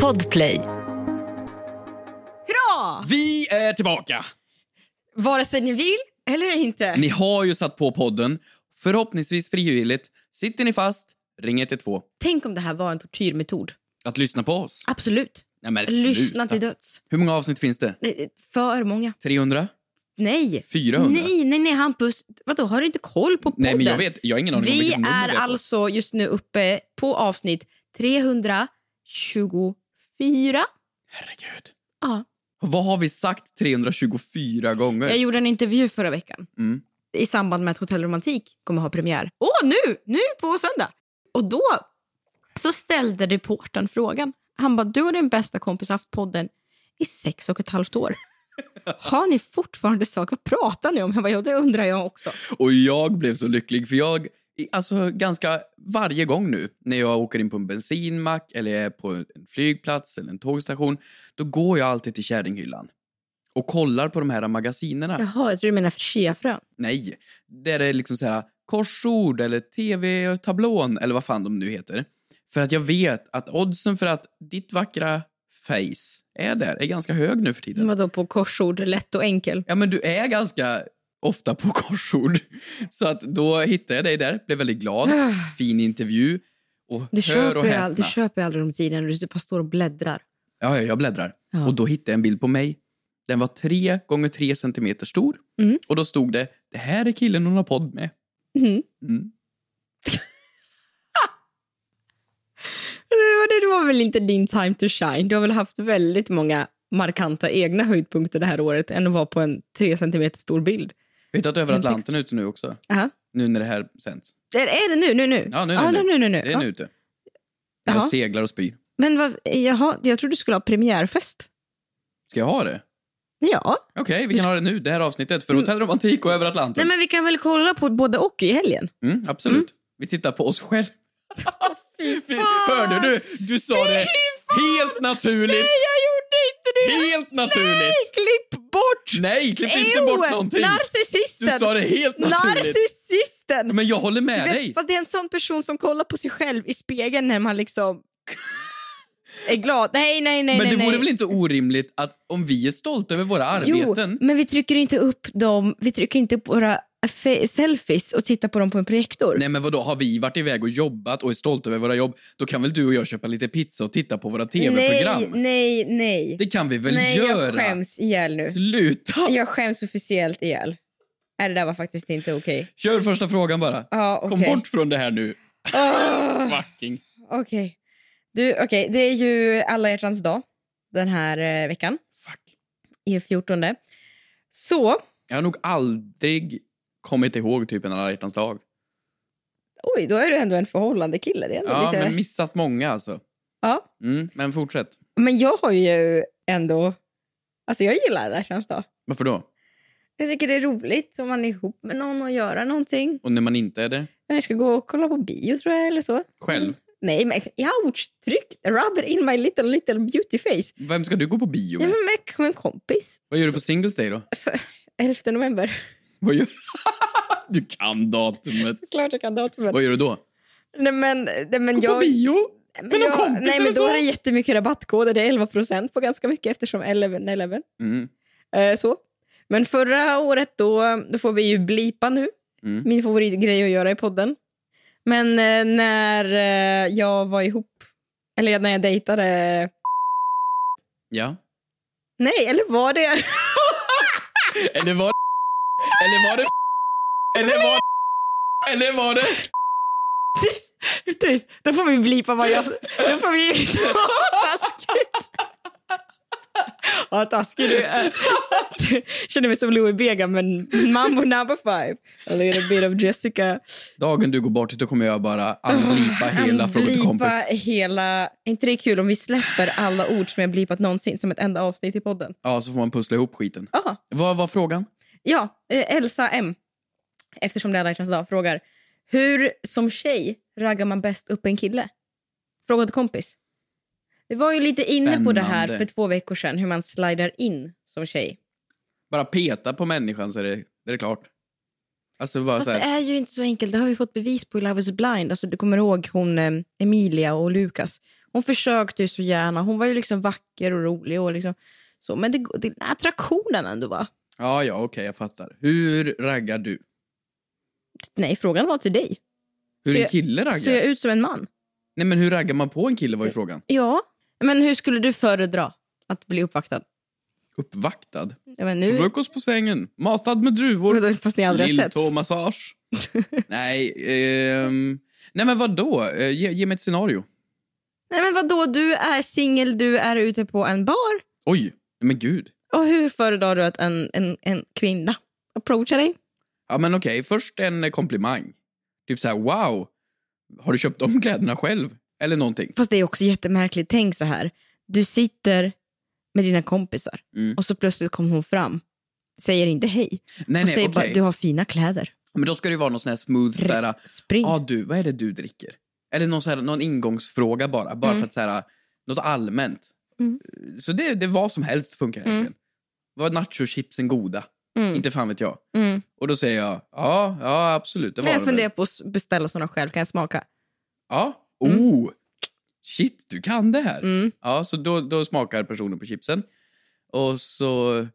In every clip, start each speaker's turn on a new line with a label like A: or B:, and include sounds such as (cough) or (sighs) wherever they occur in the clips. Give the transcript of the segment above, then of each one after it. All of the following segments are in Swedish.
A: Podplay.
B: Hurra!
C: Vi är tillbaka!
B: Vare sig ni vill eller inte.
C: Ni har ju satt på podden, förhoppningsvis frivilligt. Sitter ni fast, ring 112.
B: Tänk om det här var en tortyrmetod.
C: Att lyssna på oss?
B: Absolut.
C: Nej, men
B: Lyssna
C: sluta.
B: till döds.
C: Hur många avsnitt finns det?
B: Nej, För många.
C: 300?
B: Nej.
C: 400?
B: Nej, nej, nej, Hampus. Vadå, har du inte koll på podden?
C: Nej, men jag vet. Jag har ingen aning om
B: Vi
C: vilket nummer
B: är
C: det på.
B: alltså just nu uppe på avsnitt 324.
C: Herregud.
B: Ja.
C: Vad har vi sagt 324 gånger?
B: Jag gjorde en intervju förra veckan
C: Mm.
B: i samband med att Hotell Romantik kommer ha premiär. Åh, nu! Nu på söndag! Och då så ställde reportern frågan. Han bara, du och din bästa kompis har haft podden i sex och ett halvt
C: (laughs)
B: år. Har ni fortfarande saker? Vad pratar ni om? Jag bara, ja, det undrar jag också.
C: Och jag blev så lycklig för jag, i- alltså ganska varje gång nu när jag åker in på en bensinmack eller är på en flygplats eller en tågstation, då går jag alltid till Käringhyllan och kollar på de här magasinerna.
B: Jaha, jag tror du menar för chiafrön.
C: Nej, där det är liksom så här korsord eller tv-tablån eller vad fan de nu heter. För att jag vet att oddsen för att ditt vackra face är där är ganska hög nu för tiden.
B: Vadå på korsord, lätt och enkel?
C: Ja, men du är ganska ofta på (laughs) korsord. Så att då hittade jag dig där, blev väldigt
B: (sighs)
C: glad. Fin intervju. Och
B: Du
C: hör
B: köper,
C: och
B: ju all, du
C: häpna.
B: köper ju aldrig de tiden du bara står och bläddrar.
C: Ja, ja, jag bläddrar.
B: Ja.
C: Och då hittade jag en bild på mig. Den var tre gånger tre centimeter stor.
B: Mm.
C: Och då stod det, det här är killen hon har podd med.
B: Mm.
C: Mm.
B: Det var, det var väl inte din time to shine. Du har väl haft väldigt många markanta egna höjdpunkter det här året än att vara på en tre centimeter stor bild.
C: Vet du att över
B: En text.
C: Atlanten är ute nu också?
B: Aha.
C: Nu när det här sänds.
B: Är, är det nu? Nu nu?
C: Ja, nu, nu,
B: ah,
C: nu.
B: nu, nu, nu, nu.
C: Det är
B: Ja.
C: nu ute. Jag
B: Jaha.
C: seglar och spyr.
B: Men vad, jaha, jag trodde du skulle ha premiärfest.
C: Ska jag ha det?
B: Ja.
C: Okej, vi kan ha det nu, det här avsnittet. För Hotell Romantik och över Atlanten.
B: Nej, men vi kan väl kolla på både och i helgen?
C: Mm, absolut. Vi tittar på oss själva. (laughs) Vi- Hörde du? Du sa det helt naturligt.
B: Jag gjorde inte det!
C: Helt naturligt.
B: Klipp bort!
C: Nej, klipp inte bort någonting.
B: Narcissisten!
C: Du sa det helt naturligt.
B: Narcissisten!
C: Men jag håller med
B: Vet-
C: dig.
B: Fast det är en sån person som kollar på sig själv i spegeln när man
C: (laughs)
B: liksom är glad. Nej, nej, nej.
C: Men
B: nej,
C: det vore
B: nej.
C: väl inte orimligt att om vi är stolta över våra arbeten...
B: Jo, men vi trycker inte upp dem, vi trycker inte upp våra fe- selfies och tittar på dem på en projektor.
C: Nej men vadå, har vi varit iväg och jobbat och är stolta över våra jobb, då kan väl du och jag köpa lite pizza och titta på våra
B: nej,
C: tv-program?
B: nej. nej.
C: Det kan vi väl
B: nej, jag
C: göra?
B: skäms ihjäl nu.
C: Sluta!
B: Jag skäms officiellt ihjäl. Nej, det där var faktiskt inte okej.
C: Kör första frågan bara.
B: Ja, okej.
C: Kom bort från det här nu.
B: Ah.
C: Fucking.
B: Okej. Du, okej, Det är ju alla hjärtans dag den här eh, veckan,
C: Fuck.
B: i 14. Så,
C: Jag har nog aldrig kommit ihåg typ en alla hjärtans dag.
B: oj, då är du ändå en förhållande kille. Det är ändå
C: Ja,
B: lite...
C: men missat många alltså.
B: Ja.
C: Mm, men fortsätt.
B: men jag har ju ändå... Alltså jag gillar alla hjärtans dag.
C: Varför då?
B: Jag tycker det är roligt om man är ihop med någon och göra någonting.
C: Och när man inte är det?
B: Jag ska gå och kolla på bio tror jag eller så.
C: Själv?
B: Nej men ouch! Tryck rather in my little little beauty face.
C: Vem ska du gå på bio
B: Nej
C: med?
B: men med- med en kompis.
C: Vad gör du på Singles Day då?
B: 11 november. (laughs)
C: Vad gör... (laughs) du kan datumet.
B: Det är klart jag kan datumet.
C: Vad gör du då?
B: Nej men, nej, men
C: Gå på
B: jag...
C: bio?
B: Men
C: Med någon
B: jag,
C: kompis
B: nej, men
C: eller
B: då
C: så?
B: är det jättemycket rabattkoder. Det är 11 på ganska mycket eftersom 11 11.
C: Mm.
B: Eh, så. Men förra året då, då får vi ju blipa nu.
C: Mm.
B: Min favoritgrej att göra i podden. Men eh, när eh, jag var ihop, eller när jag dejtade...
C: Ja.
B: Nej, eller var det... (laughs)
C: Eller var det... Eller var det... Eller var det... Eller var det...
B: Tyst, tyst. Då får vi blipa vad jag... Då får vi... Vad taskigt. Vad taskig du är. (laughs) Känner mig som Louis Bega, men mambo number five. A little bit of Jessica.
C: Dagen du går bort då kommer jag bara anblipa hela
B: Han
C: Fråga till
B: blipar
C: kompis.
B: hela... Är inte det kul om vi släpper alla ord som jag blipat någonsin som ett enda avsnitt i podden?
C: Ja, så får man pussla ihop skiten.
B: Aha.
C: Vad var frågan?
B: Ja, eh, Elsa M, eftersom det är alla hjärtans dag, frågar hur som tjej raggar man bäst upp en kille? Fråga till kompis. Vi var ju lite inne på det här
C: Spännande.
B: för två veckor sedan, hur man slidar in som tjej.
C: Bara peta på människan så är det, det är det klart. Alltså bara
B: Fast
C: så
B: det
C: här,
B: är ju inte så enkelt, det har vi fått bevis på i Love is blind. Alltså, du kommer ihåg hon eh, Emilia och Lukas. Hon försökte ju så gärna. Hon var ju liksom vacker och rolig. Och liksom, så. Men det, det är attraktionen ändå va?
C: Ja, ja, okej, jag fattar. Hur raggar du?
B: Nej, frågan var till dig.
C: Hur
B: Så
C: en
B: jag-
C: kille raggar?
B: Ser jag ut som en man?
C: Nej, men hur raggar man på en kille var ju frågan.
B: Ja. Men hur skulle du föredra att bli uppvaktad?
C: Uppvaktad?
B: Ja, men nu,
C: Frukost på sängen? Matad med druvor?
B: (laughs) fast ni aldrig har setts. (laughs)
C: Lilltåmassage? nej, ehm... Nej, men vadå? Eh, Ge, ge mig ett scenario.
B: Nej men vadå, du är singel, du är ute på en bar.
C: Oj, nej, men gud.
B: Och hur föredrar du att en, en, en kvinna approachar dig?
C: Ja, men okej. Först en eh, komplimang. Typ så här, wow. Har du köpt de kläderna själv? Eller någonting.
B: Fast det är också jättemärkligt. Tänk så här. Du sitter med dina kompisar
C: Mm.
B: och så plötsligt kommer hon fram. Säger inte hej.
C: Nej,
B: och
C: nej,
B: säger
C: okej.
B: bara du har fina kläder.
C: Men då ska det ju vara någon sån här smooth, så här,
B: Spring.
C: ah, du, vad är det du dricker? Eller någon, så här, någon ingångsfråga bara, bara för att så här, något allmänt.
B: Mm.
C: Så det, det är vad som helst funkar egentligen. Var nachochipsen goda?
B: Mm.
C: Inte fan vet jag.
B: Mm.
C: Och då säger jag, ja, ja absolut, det var
B: Men
C: det
B: jag
C: väl."
B: funderar på att beställa såna själv. Kan jag smaka?
C: Ja, oh, shit, du kan det här.
B: Mm.
C: Ja, så då, då smakar personen på chipsen. Och så...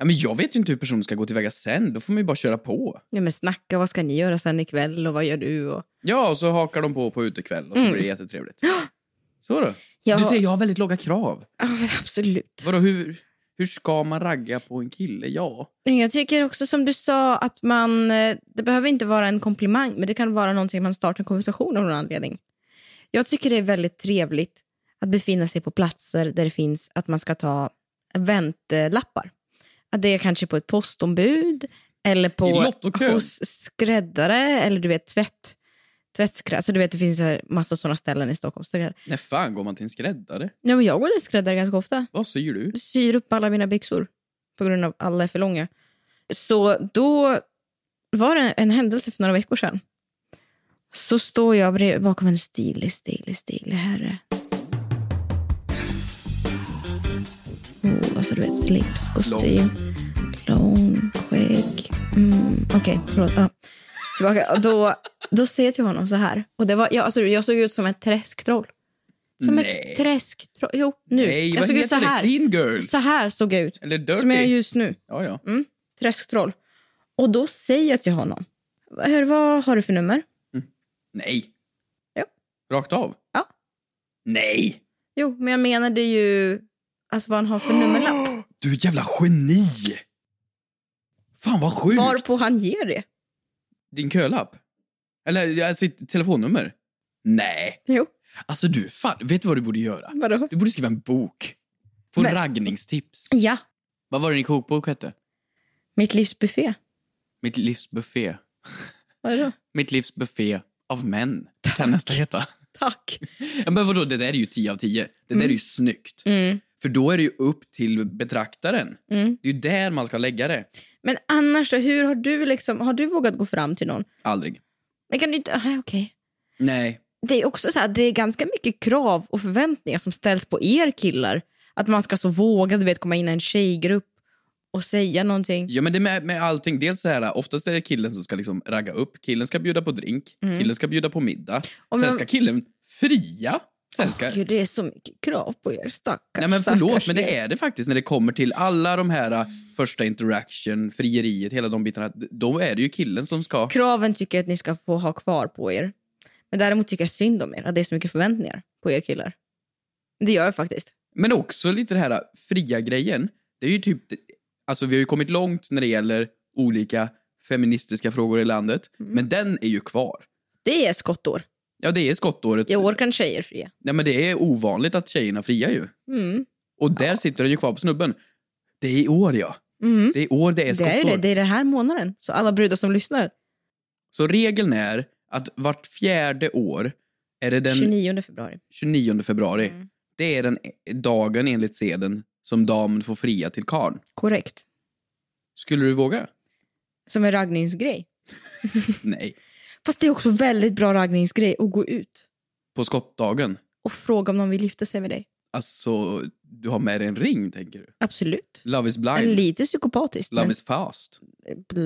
C: Ja, men jag vet ju inte hur personen ska gå tillväga sen, då får man ju bara köra på.
B: Ja, men snacka, vad ska ni göra sen ikväll och vad gör du? Och...
C: Ja, och så hakar de på på utekväll och så
B: Mm.
C: blir
B: (gasps)
C: det jättetrevligt. Så då.
B: Jag
C: Du
B: har-
C: ser, jag har väldigt låga krav.
B: Ja, men absolut.
C: Vadå, hur, hur ska man ragga på en kille? Ja.
B: Jag tycker också som du sa att man, eh, det behöver inte vara en komplimang men det kan vara någonting man startar en konversation av någon anledning. Jag tycker det är väldigt trevligt att befinna sig på platser där det finns att man ska ta väntlappar. Att det är kanske på ett postombud eller
C: I
B: på
C: lottokön.
B: hos skräddare eller du vet tvätt. Tvättskräddare. Alltså du vet det finns så här massa sådana ställen i Stockholm. Så det är-
C: När fan går man till en skräddare?
B: Ja, men jag går till skräddare ganska ofta
C: Vad syr du?
B: syr upp alla mina byxor på grund av att alla är för långa. Så då var det en händelse för några veckor sedan. Så står jag brev- bakom en stilig, stilig, stilig herre. Oh, alltså du vet, slips, kostym, lång, skägg. Mm, Okej, förlåt. Ja. Tillbaka. Och Då, då ser jag till honom så här. Och det var, jag, alltså, jag såg ut som ett träsktroll. Som
C: Nej.
B: ett träsktroll. Jo, nu.
C: Nej,
B: jag
C: vad
B: såg ut så
C: heter det?
B: här.
C: Clean girl?
B: Så här såg jag ut.
C: Eller dirty?
B: Som jag är just nu. Mm.
C: Ja, ja.
B: Träsktroll. Och då säger jag till honom. Hör, vad har du för nummer?
C: Nej.
B: Jo.
C: Rakt av?
B: Ja.
C: Nej!
B: Jo, men jag menade ju alltså vad han har för
C: Ah,
B: nummerlapp.
C: Du jävla geni! Fan vad sjukt!
B: Varpå han ger det.
C: Din kölapp? Eller ja, sitt telefonnummer? Nej.
B: Jo,
C: Alltså du, fan, vet du vad du borde göra?
B: vadå?
C: Du borde skriva en bok. På
B: Men-
C: raggningstips.
B: Ja,
C: Vad var det din kokbok hette?
B: mitt livs buffé.
C: Mitt livs buffé.
B: Vadå?
C: Mitt livs buffé av män. Kan nästa heta.
B: Tack.
C: Ja, Men vadå, det där är ju 10 av 10. Det där är ju snyggt.
B: Mm,
C: För då är det ju upp till betraktaren.
B: mm.
C: Det är ju där man ska lägga det.
B: Men annars då, hur har du liksom, har du vågat gå fram till någon?
C: Aldrig.
B: Men kan du inte, ah, okej.
C: Nej.
B: Det är också så här, det är ganska mycket krav och förväntningar som ställs på er killar. Att man ska så våga, du vet, komma in i en tjejgrupp och säga någonting.
C: Ja, men det är med, med allting. Dels så här, oftast är det killen som ska liksom ragga upp. Killen ska bjuda på drink. Killen ska bjuda på middag.
B: Mm. Och
C: Sen
B: men-
C: ska killen fria. Sen ska...
B: Åh, Gud, det är så mycket krav på er. Stackars,
C: Nej men förlåt,
B: stackars
C: men det är det faktiskt när det kommer till alla de här eh, första interaction, frieriet, hela de bitarna. D- Då är det ju killen som ska...
B: Kraven tycker jag att ni ska få ha kvar på er. Men däremot tycker jag synd om er, att det är så mycket förväntningar på er killar. Det gör jag faktiskt.
C: Men också lite det här eh, fria grejen. Det är ju typ... Alltså vi har ju kommit långt när det gäller olika feministiska frågor i landet.
B: Mm.
C: Men den är ju kvar.
B: Det är skottår.
C: Ja, det är skottåret.
B: I år kan tjejer fria.
C: Nej, men det är ovanligt att tjejerna friar ju.
B: Mm.
C: Och där sitter den ju kvar på snubben. Det är i år, ja.
B: Mm.
C: Det är i år det är
B: Det
C: skottår.
B: är ju det, det är den här månaden. Så alla brudar som lyssnar,
C: Så regeln är att vart fjärde år är det den
B: 29 februari.
C: 29 februari.
B: Mm.
C: Det är den dagen enligt seden som damen får fria till karn.
B: Korrekt.
C: Skulle du våga?
B: Som en raggningsgrej.
C: Nej.
B: Fast det är också väldigt bra raggningsgrej att gå ut
C: På skottdagen?
B: och fråga om någon vill gifta sig med dig.
C: Alltså, du har med dig en ring, tänker du?
B: Absolut.
C: Love is blind.
B: Lite psykopatiskt,
C: Love
B: men
C: is fast.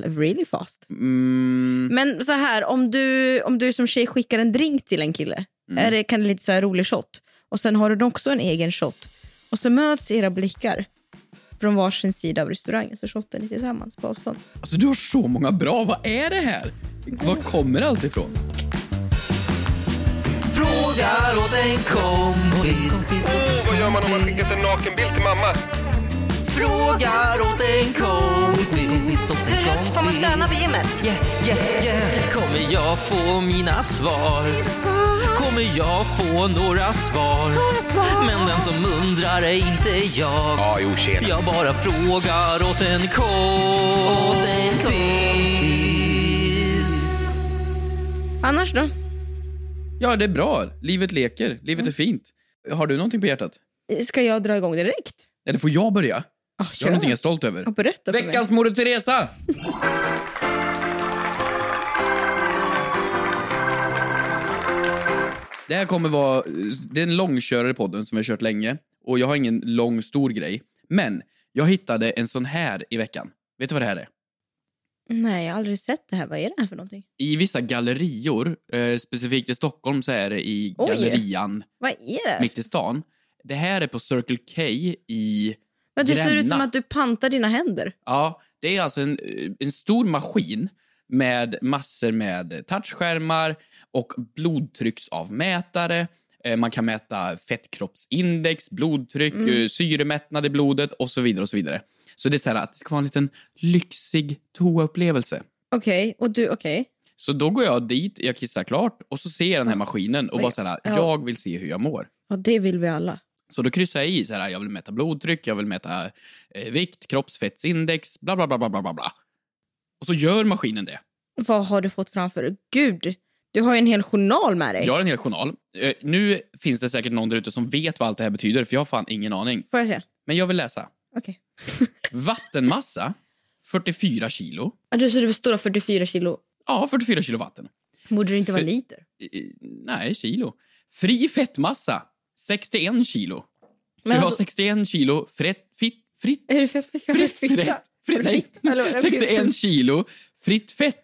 B: really fast.
C: Mm,
B: Men så här, om du, om du som tjej skickar en drink till en kille,
C: Mm.
B: är det, kan det lite så här rolig shot. Och sen har hon också en egen shot. Och så möts era blickar från varsin sida av restaurangen så shottar ni tillsammans på avstånd.
C: Alltså du har så många bra. Vad är det här? Var kommer allt ifrån?
A: Frågar åt en kompis.
D: Åh, vad gör man om man skickat en nakenbild till mamma?
A: Frågar åt en kompis. Hur
E: högt får man stöna vid gymmet?
A: Yeah, yeah, yeah. Kommer jag få mina svar? Kommer jag få några svar? Men den som undrar är inte jag.
D: Ja, jo, tjena.
A: Jag bara frågar åt en kompis.
B: Annars då?
C: Ja, det är bra. Livet leker. Livet är fint. Har du någonting på hjärtat?
B: Ska jag dra igång direkt?
C: Eller får jag börja?
B: Ah,
C: Jag har någonting jag är stolt över.
B: Ja, berätta för
C: Veckans Moder Teresa! Det här kommer vara... Det är en långkörare i podden som vi har kört länge. Och jag har ingen lång, stor grej. Men jag hittade en sån här i veckan. Vet du vad det här är?
B: mig. Nej, jag har aldrig sett det här. Vad är det här för någonting?
C: I vissa gallerior, eh, specifikt i Stockholm, så är det i
B: Oj.
C: gallerian
B: Vad är det?
C: mitt i stan. Det här är på Circle K i...
B: Men det ser ut som
C: Gränna.
B: att du pantar dina händer.
C: Ja, det är alltså en, eh, en stor maskin med massor med touchskärmar och blodtrycksavmätare. Eh, Man kan mäta fettkroppsindex, blodtryck, mm. syremättnad i blodet och så vidare. och så vidare. Så det är så här att det ska vara en liten lyxig toaupplevelse.
B: Okej, och du, okej.
C: Så då går jag dit, jag kissar klart och så ser jag den här maskinen och
B: Men-
C: bara så här,
B: ja.
C: jag vill se hur jag mår.
B: Ja, det vill vi alla.
C: Så då kryssar jag i så här, jag vill mäta blodtryck, jag vill mäta eh, vikt, kroppsfettsindex, bla bla bla bla bla bla bla. Och så gör maskinen det.
B: Vad har du fått framför dig? Gud, du har ju en hel journal med dig.
C: Jag har en hel journal. Eh, nu finns det säkert någon där ute som vet vad allt det här betyder, för jag har fan ingen aning.
B: Får jag se?
C: Men jag vill läsa.
B: Okej.
C: Vattenmassa, 44 kilo.
B: Okay. Alltså, Så det består av 44 kilo.
C: Ja, 44 kilo vatten.
B: Borde det inte vara
C: För-
B: liter?
C: Eh, eh, nej, kilo. Fri fettmassa, 61 kilo. Så
B: Men
C: jag har
B: vadå?
C: 61 kilo frett, fitt, fritt
B: Är det fett för
C: Fritt, fritt, fritt, nej, 61 kilo fritt fett.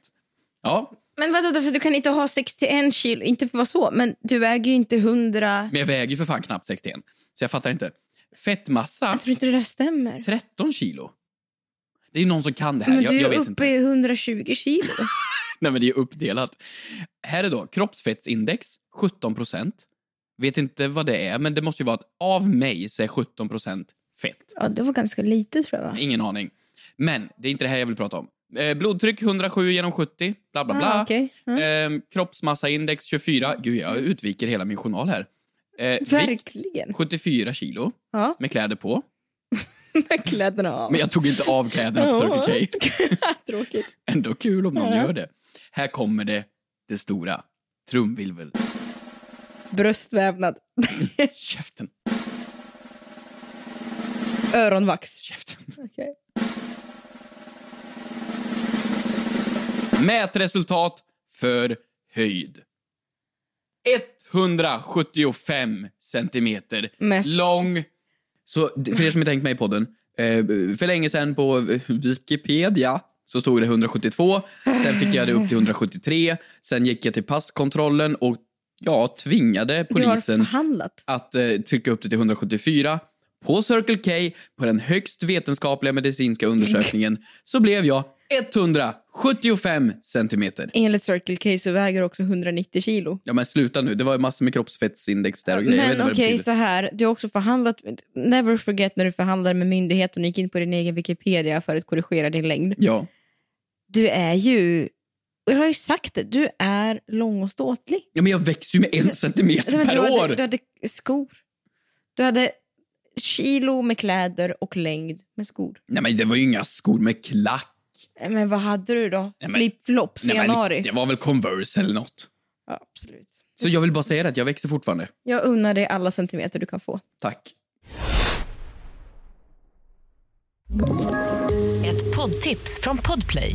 C: Ja,
B: Men vadå, då, för du kan inte ha 61 kilo. Inte för att vara så, men du väger ju inte 100...
C: men jag väger ju för fan knappt 61, så jag fattar inte.
B: Jag
C: Fettmassa,
B: tror inte det där stämmer.
C: 13 kilo. Det är någon som kan det här.
B: Men
C: Jag,
B: du är
C: jag
B: ju
C: vet
B: uppe
C: inte.
B: i 120 kilo.
C: Nej, men det är uppdelat. Här är då kroppsfettsindex, 17 procent. Vet inte vad det är, men det måste ju vara att av mig så är 17 procent fett.
B: Ja, det var ganska lite tror jag. Va?
C: Ingen aning. Men det är inte det här jag vill prata om. Eh, blodtryck 107 genom 70, bla bla bla.
B: Ah, okej. Ja.
C: Ehm, kroppsmassaindex 24. Gud, jag utviker hela min journal här. Eh, vikt
B: Verkligen.
C: 74 kilo
B: Ja, (laughs)
C: med kläder på.
B: med kläderna av.
C: Men jag tog inte av kläderna på Circle K.
B: Tråkigt.
C: Ändå kul om någon
B: Ja.
C: gör det. Här kommer det, det stora. Trumvirvel.
B: Bröstvävnad.
C: Käften,
B: Öronvax.
C: käften.
B: Okej.
C: Mätresultat för höjd. 175 centimeter
B: Mest-
C: lång. Så d- för er som inte hängt med i podden, eh, för länge sedan på Wikipedia så stod det 172, sen fick jag det upp till 173, sen gick jag till passkontrollen och ja, tvingade
B: Du har
C: polisen
B: förhandlat.
C: att eh, trycka upp det till 174. På Circle K, på den högst vetenskapliga medicinska undersökningen,
B: (laughs)
C: så blev jag 175 centimeter.
B: Enligt Circle K så väger du också 190 kilo.
C: Ja men sluta nu, det var ju massor med kroppsfettsindex där och grejer. jag vet inte
B: Men
C: vad det
B: okej,
C: betyder.
B: så här. Du har också förhandlat... Never forget när du förhandlade med myndigheten och gick in på din egen Wikipedia för att korrigera din längd.
C: Ja,
B: Du är ju... Jag har ju sagt det, du är lång och ståtlig.
C: ja men jag växer ju
B: (laughs)
C: med en
B: Nej,
C: centimeter
B: men
C: per
B: du,
C: år!
B: hade, du hade skor. Du hade kilo med kläder och längd med skor.
C: Nej men det var ju inga skor med klack.
B: Eh, Men vad hade du då?
C: men-
B: Flip-flops i
C: Nej,
B: januari?
C: men det var väl Converse eller något.
B: Ja, absolut.
C: Så jag vill bara säga det att jag växer fortfarande.
B: Jag unnar dig alla centimeter du kan få.
C: Tack.
F: Ett poddtips från Podplay.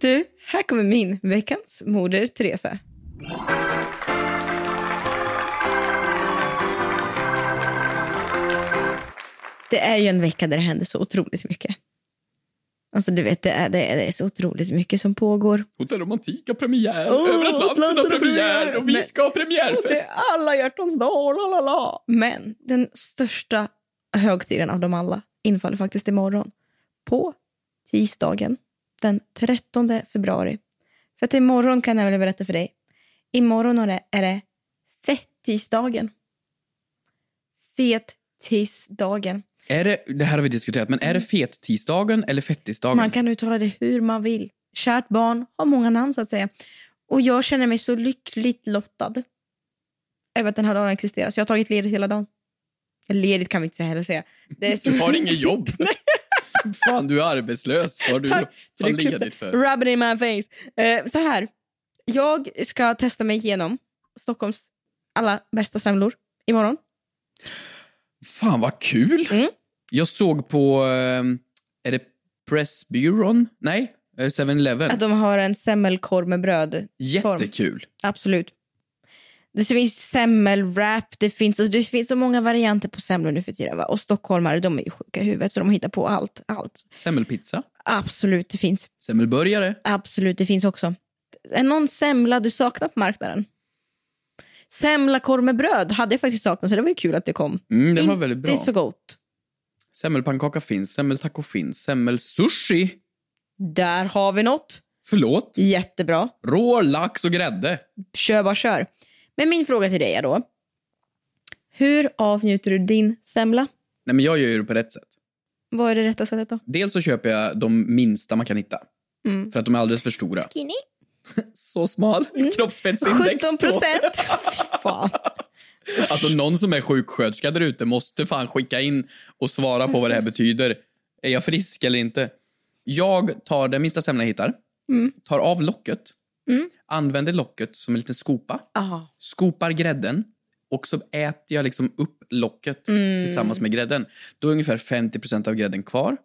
B: Du, här kommer min veckans moder Teresa. Det är ju en vecka där det händer så otroligt mycket. Alltså du vet, det är, det är, det är så otroligt mycket som pågår.
C: Hotell Romantik har premiär,
B: Åh,
C: över Atlanten
B: Atlanten
C: har
B: har
C: premiär
B: premiär.
C: och vi
B: Men-
C: ska ha
B: Och
C: premiärfest.
B: Det är alla hjärtans dag, la la la. Men den största högtiden av dem alla infaller faktiskt imorgon. På tisdagen den 13 februari. För att imorgon kan jag väl berätta för dig. Imorgon är det, är det fettisdagen. Fettisdagen.
C: Är det, det här har vi diskuterat, men är det fettisdagen eller fettisdagen?
B: Mm. Man kan uttala det hur man vill. Kärt barn har många namn så att säga. Och jag känner mig så lyckligt lottad över att den här dagen existerar. Så jag har tagit ledigt hela dagen. Eller Ledigt kan vi inte säga heller säga. Det är så...
C: Du har inget jobb. (laughs) Fan, du är arbetslös. Vad har du
B: Tack.
C: fan
B: Du klippte-
C: ledigt för?
B: Rub it in my face. Eh, så här. Jag ska testa mig igenom Stockholms alla bästa semlor imorgon.
C: Fan, vad kul.
B: Mm.
C: Jag såg på... eh, Är det Pressbyrån? Nej, eh, 7-Eleven.
B: Att de har en semmelkorv med bröd.
C: Jättekul.
B: Absolut. Det finns semmelwrap, det finns, alltså det finns så många varianter på semlor nu för tiden. Va? Och stockholmare de är ju sjuka i huvudet så de hittar på allt. allt.
C: Semmelpizza,
B: Absolut, det finns.
C: semmelburgare.
B: Absolut, det finns också. Är någon semla du saknar på marknaden? Semlakorv med bröd hade jag faktiskt saknat så det var ju kul att det kom.
C: Mm, det var
B: Inte
C: väldigt bra.
B: så gott.
C: Semmelpannkaka finns, semmeltaco finns, semmelsushi.
B: Där har vi något.
C: Förlåt.
B: Jättebra.
C: Rå lax och grädde.
B: Kör bara kör. Men min fråga till dig är då. Hur avnjuter du din semla?
C: Nej, men jag gör ju det på rätt sätt.
B: Vad är det rätta sättet då?
C: Dels så köper jag de minsta man kan hitta.
B: Mm.
C: För att de är alldeles för stora.
B: Skinny.
C: Så smal. (laughs) Kroppsfettsindex
B: 17
C: på.
B: procent. fan.
C: Alltså någon som är sjuksköterska där ute måste fan skicka in och svara på vad det
B: Mm.
C: här betyder. Är jag frisk eller inte? Jag tar den minsta semlan jag hittar, tar av locket,
B: Mm.
C: använder locket som en liten skopa,
B: Ja.
C: skopar grädden och så äter jag liksom upp locket
B: Mm.
C: tillsammans med grädden. Då är ungefär 50 av grädden kvar,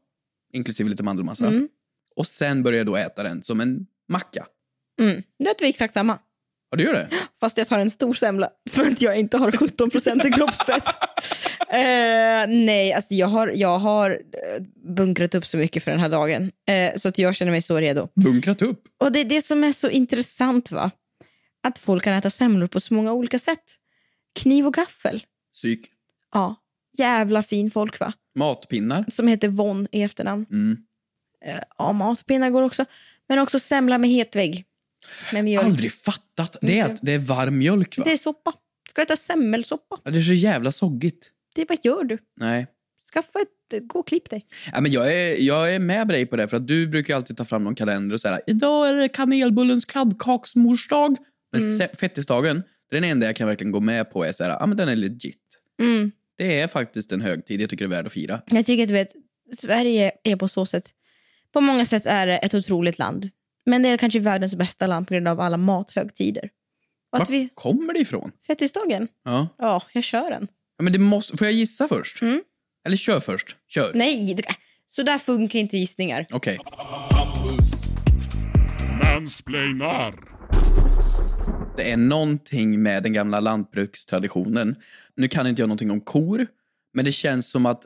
C: inklusive lite mandelmassa.
B: Mm.
C: Och sen börjar jag då äta den som en macka.
B: Mm. Det är vi exakt samma.
C: Ja, du gör det?
B: Fast jag tar en stor semla för att jag inte har 17 procent i kroppsfett. Eh, nej, alltså jag har, jag har eh, bunkrat upp så mycket för den här dagen. Eh, så att jag känner mig så redo.
C: Bunkrat upp.
B: Och det är det som är så intressant va? Att folk kan äta semlor på så många olika sätt. Kniv och gaffel.
C: Psyk.
B: Ja. Jävla fin folk va?
C: Matpinnar.
B: Som heter Von i efternamn. Eh,
C: Mm.
B: Ja, matpinnar går också. Men också semla med hetvägg. Med mjölk.
C: Aldrig fattat. Det är,
B: Inte.
C: att det är varm mjölk, va?
B: Det är soppa. Ska du äta semmelsoppa?
C: Ja, Det är så jävla soggigt.
B: Det, vad gör du?
C: Nej.
B: Skaffa ett... eh, Gå och klipp dig.
C: Ja, men jag, är, jag är med dig på det, för att du brukar ju alltid ta fram någon kalender och säga idag är det kanelbullens kladdkaksmorsdag. Men se- fettisdagen, det är den enda jag kan verkligen gå med på är så här, ja men den är legit.
B: Mm.
C: Det är faktiskt en högtid jag tycker det är värd att fira.
B: Jag tycker att du vet, Sverige är på så sätt... På många sätt är det ett otroligt land. Men det är kanske världens bästa land på grund av alla mathögtider. Och
C: Var
B: att vi...
C: kommer det ifrån?
B: Fettisdagen?
C: Ja.
B: Ja, jag kör den.
C: ja men det måste, får jag gissa först? Eller kör först. Kör.
B: Nej, du- äh, så där funkar inte gissningar.
C: Okej.
G: Mansplainar.
C: Det är någonting med den gamla lantbrukstraditionen. Nu kan inte jag någonting om kor, men det känns som att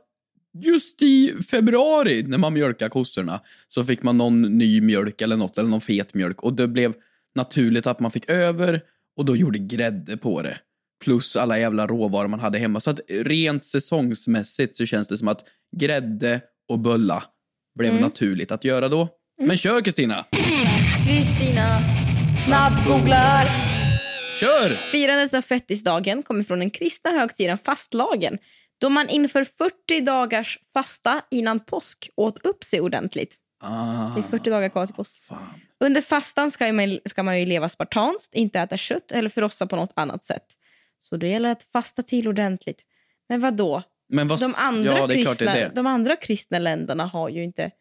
C: just i februari när man mjölkade kossorna så fick man någon ny mjölk eller något, eller någon fet mjölk och det blev naturligt att man fick över och då gjorde grädde på det. Plus alla jävla råvaror man hade hemma. Så att rent säsongsmässigt så känns det som att grädde och bölla blev
B: Mm.
C: naturligt att göra då. Men kör Kristina!
B: Kristina, snabbgooglar.
C: Kör!
B: Firandet av fettisdagen kommer från den kristna högtiden fastlagen då man inför 40 dagars fasta innan påsk åt upp sig ordentligt.
C: Ah,
B: Det är 40 dagar kvar till påsk.
C: fan.
B: Under fastan ska man, ska man ju leva spartanskt, inte äta kött eller frossa på något annat sätt. Så det gäller att fasta till ordentligt. Men vad då?
C: Men vad,
B: De
C: s-
B: andra,
C: ja, det är
B: kristna,
C: klart det är det.
B: de andra kristna länderna har ju inte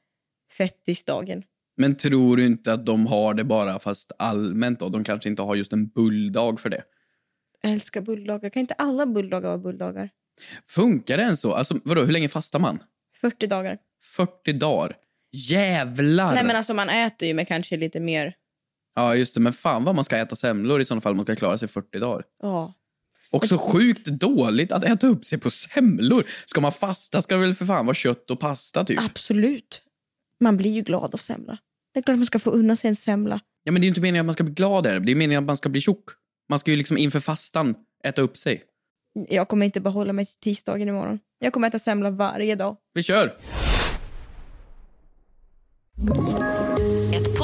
B: fettisdagen.
C: Men tror du inte att de har det bara fast allmänt då? De kanske inte har just en bulldag för det.
B: Jag älskar bulldagar. Kan inte alla bulldagar vara bulldagar?
C: Funkar det än så? Alltså, vadå, hur länge fastar man?
B: 40 dagar.
C: 40 dagar. Jävlar!
B: Nej, men alltså man äter ju med kanske lite mer...
C: Ja, just det. Men fan vad man ska äta semlor i sådana fall om man ska klara sig 40 dagar.
B: Ja.
C: Och
B: Alltså-
C: så sjukt dåligt att äta upp sig på semlor. Ska man fasta ska det väl för fan vara kött och pasta typ.
B: Ah. Absolut. Man blir ju glad av semla. Det är klart man ska få unna sig en semla.
C: Ja, men det är ju inte meningen att man ska bli glad där. Det är meningen att man ska bli tjock. Man ska ju liksom inför fastan äta upp sig.
B: Jag kommer inte behålla mig till tisdagen imorgon. Jag kommer äta semla varje dag.
C: Vi kör!
F: Ett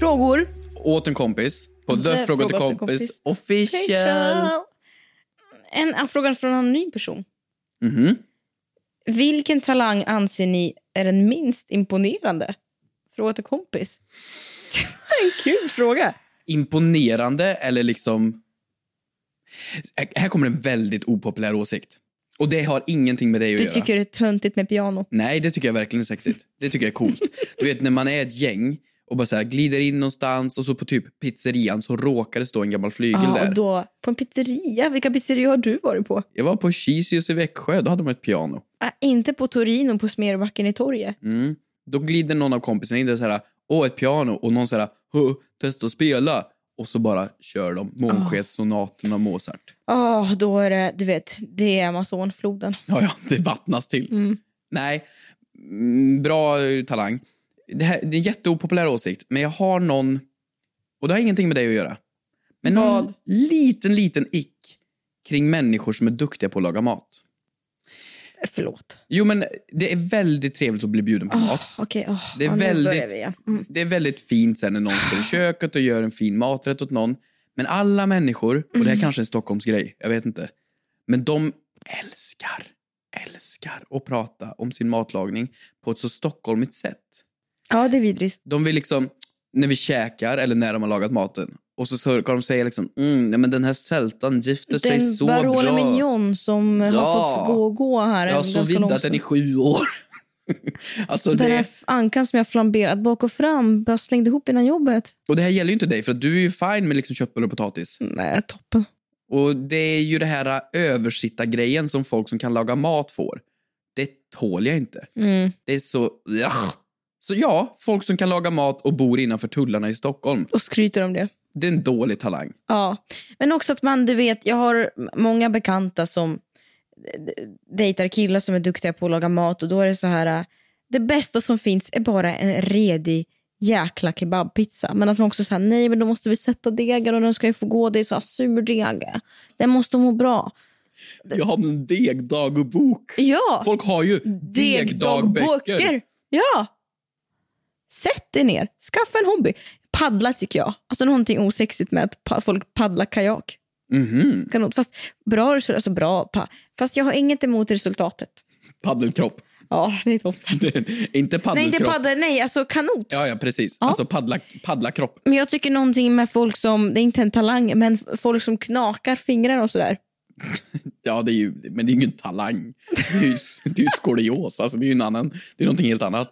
B: Frågor?
C: Åt en kompis på The Fråga till kompis official.
B: Official. En, en fråga från en anonym person.
C: Mhm.
B: Vilken talang anser ni är den minst imponerande? Fråga till kompis. (laughs) en kul fråga.
C: Imponerande eller liksom... Här- Här kommer en väldigt opopulär åsikt. Och det har ingenting med dig att
B: Du
C: göra.
B: tycker det är töntigt med piano.
C: Nej, det tycker jag verkligen är sexigt. Det tycker jag är coolt. Du vet när man är ett gäng och bara så här glider in någonstans och så på typ pizzerian så råkar det stå en gammal flygel
B: Ja,
C: där.
B: och då, på en pizzeria. Vilka pizzerior har du varit på?
C: Jag var på Chisius i Växjö, då hade de ett piano.
B: Ah, inte på Torino på Smerbacken i torget.
C: Mm. Då glider någon av kompisarna in där så här, åh ett piano och någon så här, "Hö, testa att spela. Och så bara kör de Månskenssonaten av Mozart.
B: Ja, då är det, du vet, det är Amazonfloden.
C: Ja, (laughs) ja, det vattnas till. Nej, mm, bra eh, talang. Det, här, det är en jätteopopulär åsikt, men jag har någon... Och det har ingenting med dig att göra. Men någon
B: Vad?
C: liten, liten ick kring människor som är duktiga på att laga mat.
B: Förlåt.
C: Jo, men det är väldigt trevligt att bli bjuden på mat.
B: Oh, Okej, åh,
C: Det är
B: ja, nu börjar
C: väldigt-
B: vi igen. Mm. Ah.
C: Det är väldigt fint sen när någon står i köket och gör en fin maträtt åt någon. Men alla människor, och
B: Mm.
C: det här kanske är en Stockholmsgrej, jag vet inte. Men de älskar, älskar att prata om sin matlagning på ett så stockholmigt sätt.
B: Ja, det är vidrigt.
C: De vill liksom, när vi käkar eller när de har lagat maten, och så ska de säga liksom, mm, nej, men den här sältan gifte sig
B: Den
C: så
B: Barolo
C: bra.
B: Mignon som
C: Ja.
B: har fått gå och gå här.
C: Jag
B: en
C: har så
B: ganska lång
C: viddat den i
B: stund.
C: sju år. (laughs) alltså
B: Den
C: det,
B: här f- ankan som jag flamberat bak och fram, bara slängde ihop innan jobbet.
C: och det här gäller ju inte dig, för att du är ju fine med liksom köttbullar och potatis.
B: Nej, mm, toppen.
C: Och det är ju det här äh, översittargrejen som folk som kan laga mat får. Det tål jag inte.
B: Mm.
C: Det är så... Ugh. Så ja, folk som kan laga mat och bor innanför tullarna i Stockholm.
B: Och skryter om det.
C: Det är en dålig talang.
B: Ja, men också att man, du vet, jag har m- många bekanta som eh, dejtar killar som är duktiga på att laga mat och då är det så här, eh, det bästa som finns är bara en redig jäkla kebabpizza. Men att man också säger nej men då måste vi sätta degen och den ska ju få gå, det är så här surdeg. Den måste må bra.
C: Jag har en degdagbok.
B: Ja,
C: Folk har ju
B: degdagböcker.
C: degdagböcker.
B: Ja. Sätt dig ner, skaffa en hobby. Paddla tycker jag. Alltså någonting osexigt med att pa- folk paddlar kajak.
C: Mhm,
B: Kanon. Fast bra resultat, alltså bra. Pa. Fast jag har inget emot resultatet.
C: Paddelkropp. (laughs)
B: Ja, det är toppen.
C: inte
B: Nej,
C: paddelkropp.
B: inte paddel, nej, alltså kanot.
C: Ja, ja, precis. Alltså paddla, paddlakropp.
B: Men jag tycker någonting med folk som, det är inte en talang, men f- folk som knakar fingrarna och sådär.
C: Ja, det är ju, men det är ju ingen talang. Det är ju, det är ju skolios. Alltså, det är ju en annan, det är någonting helt annat.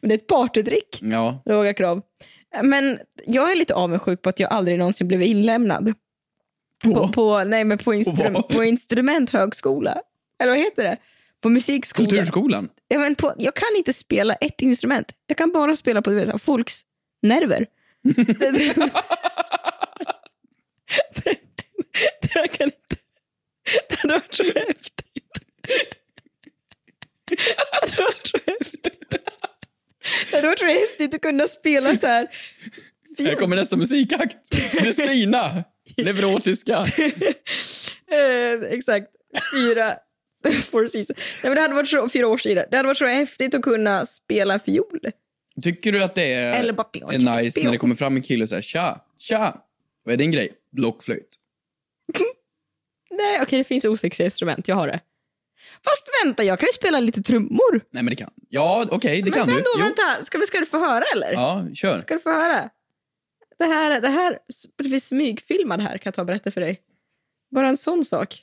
B: Men det är ett partydrick.
C: Ja,
B: Låga krav. Men jag är lite avundsjuk på att jag aldrig någonsin blev inlämnad. På, på, nej, men på, instrum,
C: vad?
B: på instrumenthögskola. Eller vad heter det? På musikskola.
C: kulturskolan.
B: Ja, men på, jag kan inte spela ett instrument. Jag kan bara spela på du vet, så här, folks nerver. (laughs) det, det, det, jag kan inte. Det hade varit så häftigt. Det hade varit så häftigt. Det hade varit så häftigt
H: roligt att kunna spela så här.
C: Här kommer
B: (laughs)
C: nästa musikakt. Kristina, neurotiska.
H: Eh, exakt. Fyra. (laughs) Four seasons. Nej, men det hade varit så, fyra årstider. Det hade varit så häftigt att kunna spela fiol.
C: Tycker du att det är,
H: Eller bara pion,
C: är nice
H: pion.
C: när det kommer fram en kille och säger tja, tja, vad är din grej? Blockflöjt.
B: Nej, okej, det finns osexiga instrument. Jag har det. Fast vänta, jag kan ju spela lite trummor.
C: Nej men det kan. Ja, okej, det kan
B: men
C: du.
B: ändå,
C: Jo.
B: vänta. Ska, vi, ska du få höra eller?
C: Ja, kör.
B: Ska du få höra? Det här, det här det finns smygfilmad här kan jag ta och berätta för dig. Bara en sån sak.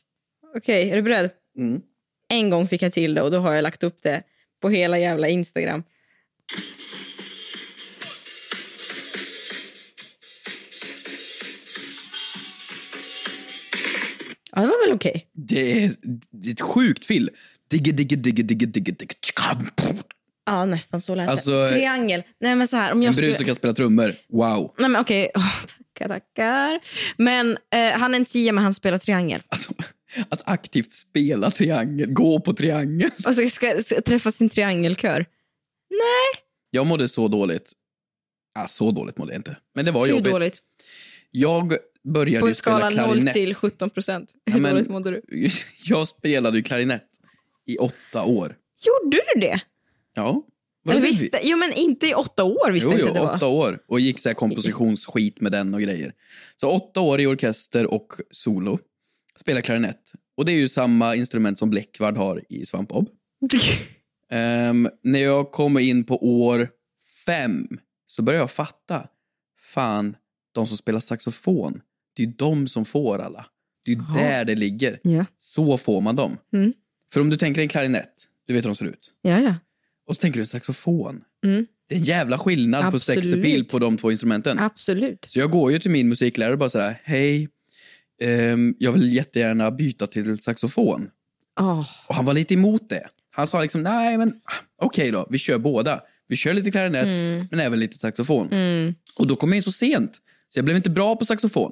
B: Okej, är du beredd?
C: Mm.
B: En gång fick jag till det och då har jag lagt upp det på hela jävla Instagram. Ja, det var väl okej.
C: Det är, det är ett sjukt fill. Digge, digge, digge, digge, digge, digge. tjaka, pff.
B: Ja, nästan så lät
C: Alltså,
B: det. Triangel. Nej, men så här. Om jag
C: En brud
B: skulle...
C: som kan spela trummor. Wow.
B: Nej, men okej. (laughs) Åh, tackar, tackar. Men eh, han är en tia, men han spelar triangel.
C: Alltså, (laughs) Att aktivt spela triangel, gå på triangel.
B: Och så ska, ska träffa sin triangelkör.
C: Jag mådde så dåligt. Ah, så dåligt mådde jag inte. Men det var
B: Hur
C: jobbigt.
B: dåligt?
C: Jag började
B: På
C: ju
B: en skala
C: spela
B: 0
C: klarinett.
B: till 17 procent. Hur
C: Ja, men-
B: dåligt mådde du?
C: (laughs) Jag spelade ju klarinett i åtta år.
B: Gjorde du det?
C: Ja. Var
B: Jag
C: det
B: visste, jo, men inte i åtta år visste
C: jo,
B: jag
C: jo,
B: inte att det
C: åtta
B: var.
C: år och gick så här kompositionsskit med den och grejer. Så åtta år i orkester och solo. Spelar klarinett. Och det är ju samma instrument som Bläckvard har i Svampbob. Ehm, när jag kommer in på år fem så börjar jag fatta. Fan, de som spelar saxofon, det är ju de som får alla. Det är ju där det ligger.
B: (laughs) Ja.
C: Så får man dem.
B: Mm.
C: För om du tänker en klarinett, du vet hur de ser ut.
B: Ja, ja.
C: Och så tänker du en saxofon.
B: Mm.
C: Det är en jävla skillnad på
B: Absolut.
C: sex appeal på de två instrumenten.
B: Absolut.
C: Så jag går ju till min musiklärare och bara sådär, hej, ehm, jag vill jättegärna byta till saxofon.
B: Oh.
C: Och han var lite emot det. Han sa liksom, nej men ah, okej då, vi kör båda. Vi kör lite klarinett,
B: Mm.
C: men även lite saxofon.
B: Mm.
C: Och då kom jag in så sent, så jag blev inte bra på saxofon.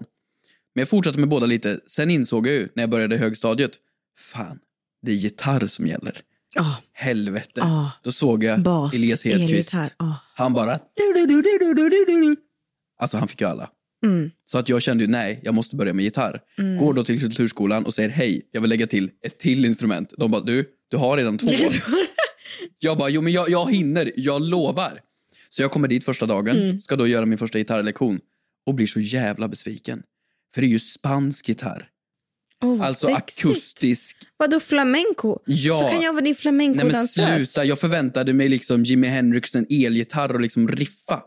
C: Men jag fortsatte med båda lite. Sen insåg jag ju, när jag började i högstadiet, fan, det är gitarr som gäller.
B: Oh.
C: Helvete.
B: Ah.
C: Då såg jag
B: Bas,
C: Elias Hedqvist.
B: elgitarr, ah.
C: Han bara... Du, du, du, du, du, du, du, du. Alltså han fick ju alla.
B: Mm.
C: Så att jag kände ju nej, jag måste börja med gitarr.
B: Mm.
C: Går då till kulturskolan och säger hej, jag vill lägga till ett till instrument. De bara du, du har
B: (laughs)
C: redan två. jag bara jo men jag, jag hinner, jag lovar. Så jag kommer dit första dagen,
I: Mm.
C: ska då göra min första gitarrlektion och blir så jävla besviken. För det är ju spansk gitarr.
B: Oh, vad
C: alltså
B: sexigt.
C: akustisk
B: Vadå flamenco?
C: Ja.
B: Så kan jag vara din
C: Nej men
B: flamencodansös?
C: sluta, jag förväntade mig liksom Jimi Henriksen elgitarr och liksom riffa.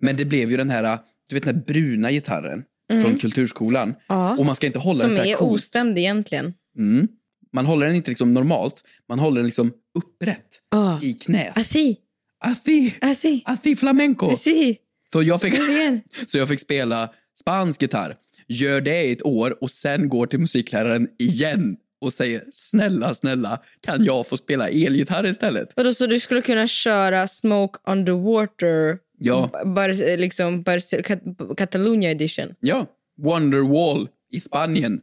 C: Men det blev ju den här, du vet den här bruna gitarren
B: Mm.
C: från kulturskolan.
B: Ja.
C: Och man ska inte hålla
B: Som
C: den så här
B: är
C: coolt.
B: ostämd egentligen.
C: Mm. Man håller den inte liksom normalt, man håller den liksom upprätt
B: Ah.
C: i Alltså. knät.
B: Así.
C: Así.
B: Así.
C: Así flamenco.
B: Así.
C: Så jag, fick, så jag fick spela spansk gitarr, gör det i ett år och sen går till musikläraren igen och säger snälla, snälla, kan jag få spela elgitarr istället?
B: Vadå, så du skulle kunna köra Smoke on the Water?
C: Ja.
B: B- Bar, liksom Bar, Cat- Catalunya edition?
C: Ja, Wonderwall i Spanien.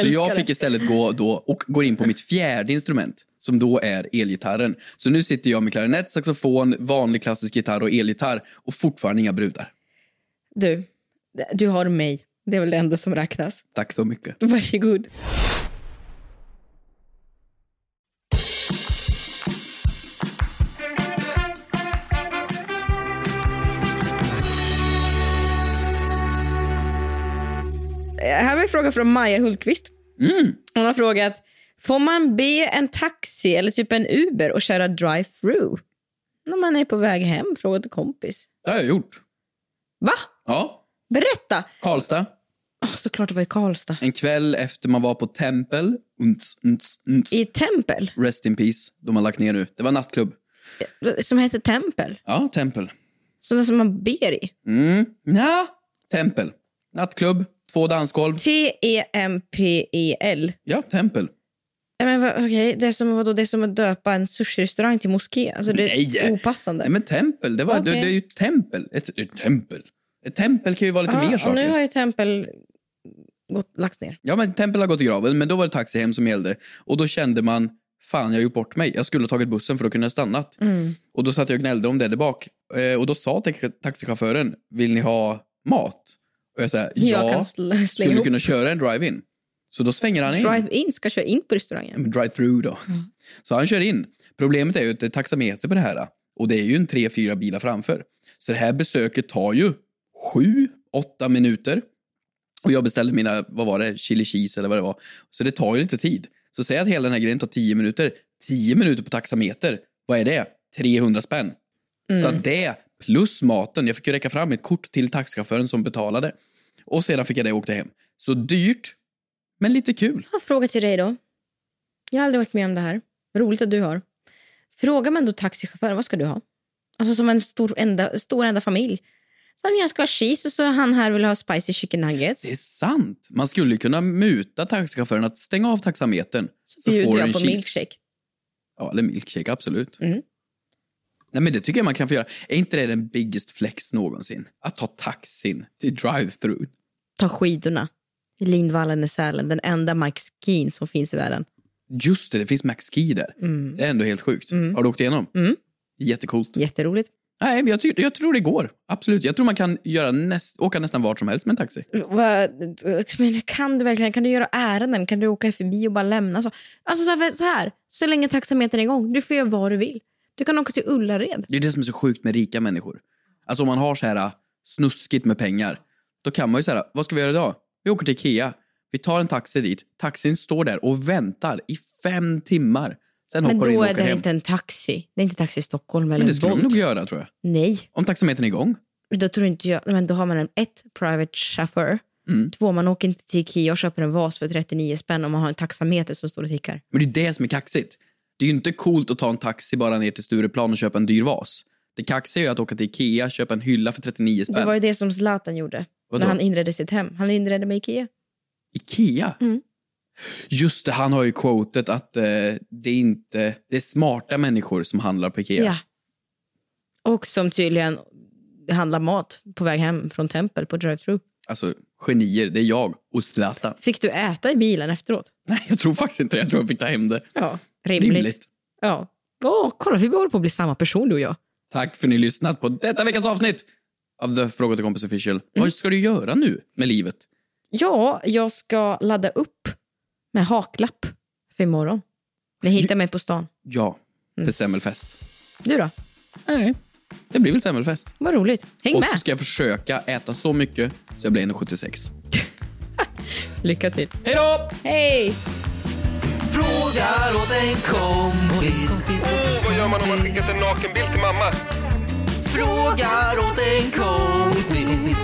C: Så jag fick istället gå då och går in på mitt fjärde instrument som då är elgitarren. Så nu sitter jag med klarinett, saxofon, vanlig klassisk gitarr och elgitarr och fortfarande inga brudar.
B: Du, du har mig. Det är väl det enda som räknas.
C: Tack så mycket.
B: (laughs) Varsågod. Eh, Eh, Här har vi en fråga från Maja Hultqvist. Hon har frågat, får man be en taxi eller typ en Uber och köra drive-through? När man är på väg hem, frågade kompis.
C: Det har jag gjort.
B: Va?
C: Ja.
B: Berätta!
C: Karlstad.
B: Oh, såklart det var i Karlstad.
C: En kväll efter man var på tempel. Unts, unts, unts.
B: I tempel?
C: Rest in peace. De har lagt ner nu. Det var nattklubb.
B: Som heter tempel.
C: Ja, tempel.
B: Sådana som man ber i.
C: Mm. Nja, tempel. Nattklubb, två dansgolv.
H: E
B: T-E-M-P-E-L.
C: Ja, tempel.
B: Nej, Men, va- okej, det, är som, vadå, det är som att döpa en sushi-restaurang till moské. Alltså, det är
C: Nej.
B: opassande.
C: Nej, men tempel. Det, var,
B: Okej.
C: det, det är ju ett tempel. Ett, ett tempel. Ett tempel kan ju vara lite
H: Ah,
B: Ja,
C: mer
B: Ah, och nu
C: saker.
B: har ju tempel gått, lagts ner.
C: Ja, men tempel har gått i graven, men då var det taxi hem som gällde. Och då kände man, fan jag har gjort bort mig. Jag skulle ha tagit bussen för att kunna ha stannat. Och då satt jag och gnällde om det där bak. Eh, Och då sa tax- taxichauffören, vill ni ha mat? Och jag sa,
H: Jag
C: ja,
H: kan sl- slänga
C: skulle du
H: ihop."
C: kunna köra en drive-in? Så då svänger han in.
H: Drive-in ska köra in på restaurangen.
C: drive-through då. Så han kör in. Problemet är ju att det är taxameter på det här. Och det är ju en tre, fyra bilar framför. Så det här besöket tar ju sju, åtta minuter. Och jag beställde mina, vad var det, chili cheese eller vad det var. Så det tar ju lite tid. Så säg att hela den här grejen tar tio minuter. Tio minuter på taxameter, vad är det? 300 spänn. Så att det, plus maten, jag fick ju räcka fram ett kort till taxichauffören som betalade. Och sedan fick jag det och åkte hem. Så dyrt, men lite kul.
H: Jag har en fråga till dig då. Jag har aldrig varit med om det här. Roligt att du har. Frågar man då taxichauffören vad ska du ha? Alltså som en stor enda, stor enda familj. Så här, jag ska ha cheese och så han här vill ha spicy chicken nuggets.
C: Det är sant. Man skulle kunna muta taxichauffören att stänga av taxametern. Så,
H: Bjuder jag
C: en
H: på
C: cheese.
H: milkshake. Mm.
C: Ja, eller milkshake, absolut. Nej, men Det tycker jag man kan få göra. Är inte det den biggest flex någonsin? Att ta taxin till drive-through.
B: Ta skidorna. I Lindvallen i Sälen, den enda Max Keen som finns i världen.
C: Just det, det finns Max Key där.
H: Mm.
C: Det är ändå helt sjukt. Har du åkt igenom?
B: Mm.
C: Jättecoolt.
B: Jätteroligt.
C: Nej, men jag, ty- jag tror det går. Absolut. Jag tror man kan göra näst- åka nästan vart som helst med en taxi.
H: Vad- Men kan du verkligen kan du göra ärenden? Kan du åka förbi och bara lämna? Så, alltså så här, så här, så länge taxametern är igång. Du får göra vad du vill. Du kan åka till Ullared.
C: Det är det som är så sjukt med rika människor. Alltså om man har så här äh, snuskigt med pengar, då kan man ju säga, vad ska vi göra idag? Vi åker till Ikea, vi tar en taxi dit, taxin står där och väntar i fem timmar. Sen
B: Men
C: hoppar du in
B: då
C: och
B: är
C: åker
B: det
C: hem.
B: inte en taxi. Det är inte Taxi Stockholm eller
C: Men det skulle de
B: Bolt.
C: nog göra tror jag.
B: Nej,
C: Om taxametern är igång.
B: då tror inte jag. Men då har man en ett private chaufför.
C: Mm.
B: Två, man åker inte till Ikea och köper en vas för 39 spänn om man har en taxameter som står och tickar.
C: Men det är det som är kaxigt. Det är ju inte coolt att ta en taxi bara ner till Stureplan och köpa en dyr vas. Det kaxiga är ju att åka till Ikea, köpa en hylla för 39 spänn.
H: Det var ju det som Zlatan gjorde
C: Vadå?
H: när han inredde sitt hem. Han inredde med Ikea.
C: Ikea?
H: Mm.
C: Just det, han har ju quotet att eh, det, är inte, det är smarta människor som handlar på Ikea.
B: Ja. Och som tydligen handlar mat på väg hem från tempel på drive-thru.
C: Alltså, genier, det är jag och Zlatan. (laughs)
B: Fick du äta i bilen efteråt?
C: Nej, jag tror faktiskt inte det. Jag tror jag fick ta hem det.
B: Ja, rimligt. Ja. Åh, kolla, vi håller på att bli samma person du och jag.
C: Tack för att ni har lyssnat på detta veckans avsnitt av The Fråga till Kompis Official.
B: Mm.
C: Vad ska du göra nu med livet?
B: Ja, jag ska ladda upp med haklapp för imorgon. Ni hittar mig på stan.
C: Ja,
B: Mm.
C: för semmelfest.
B: Du då?
C: Nej. Det blir väl semmelfest.
B: Vad roligt. Häng
C: och så
B: med.
C: ska jag försöka äta så mycket så jag blir 1,76.
B: Lycka till.
C: Hej då!
H: Hej!
A: Frågar åt en kompis.
D: Åh, vad gör man om man skickat en nakenbild till mamma?
A: Frågar åt en kompis.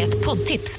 F: Ett poddtips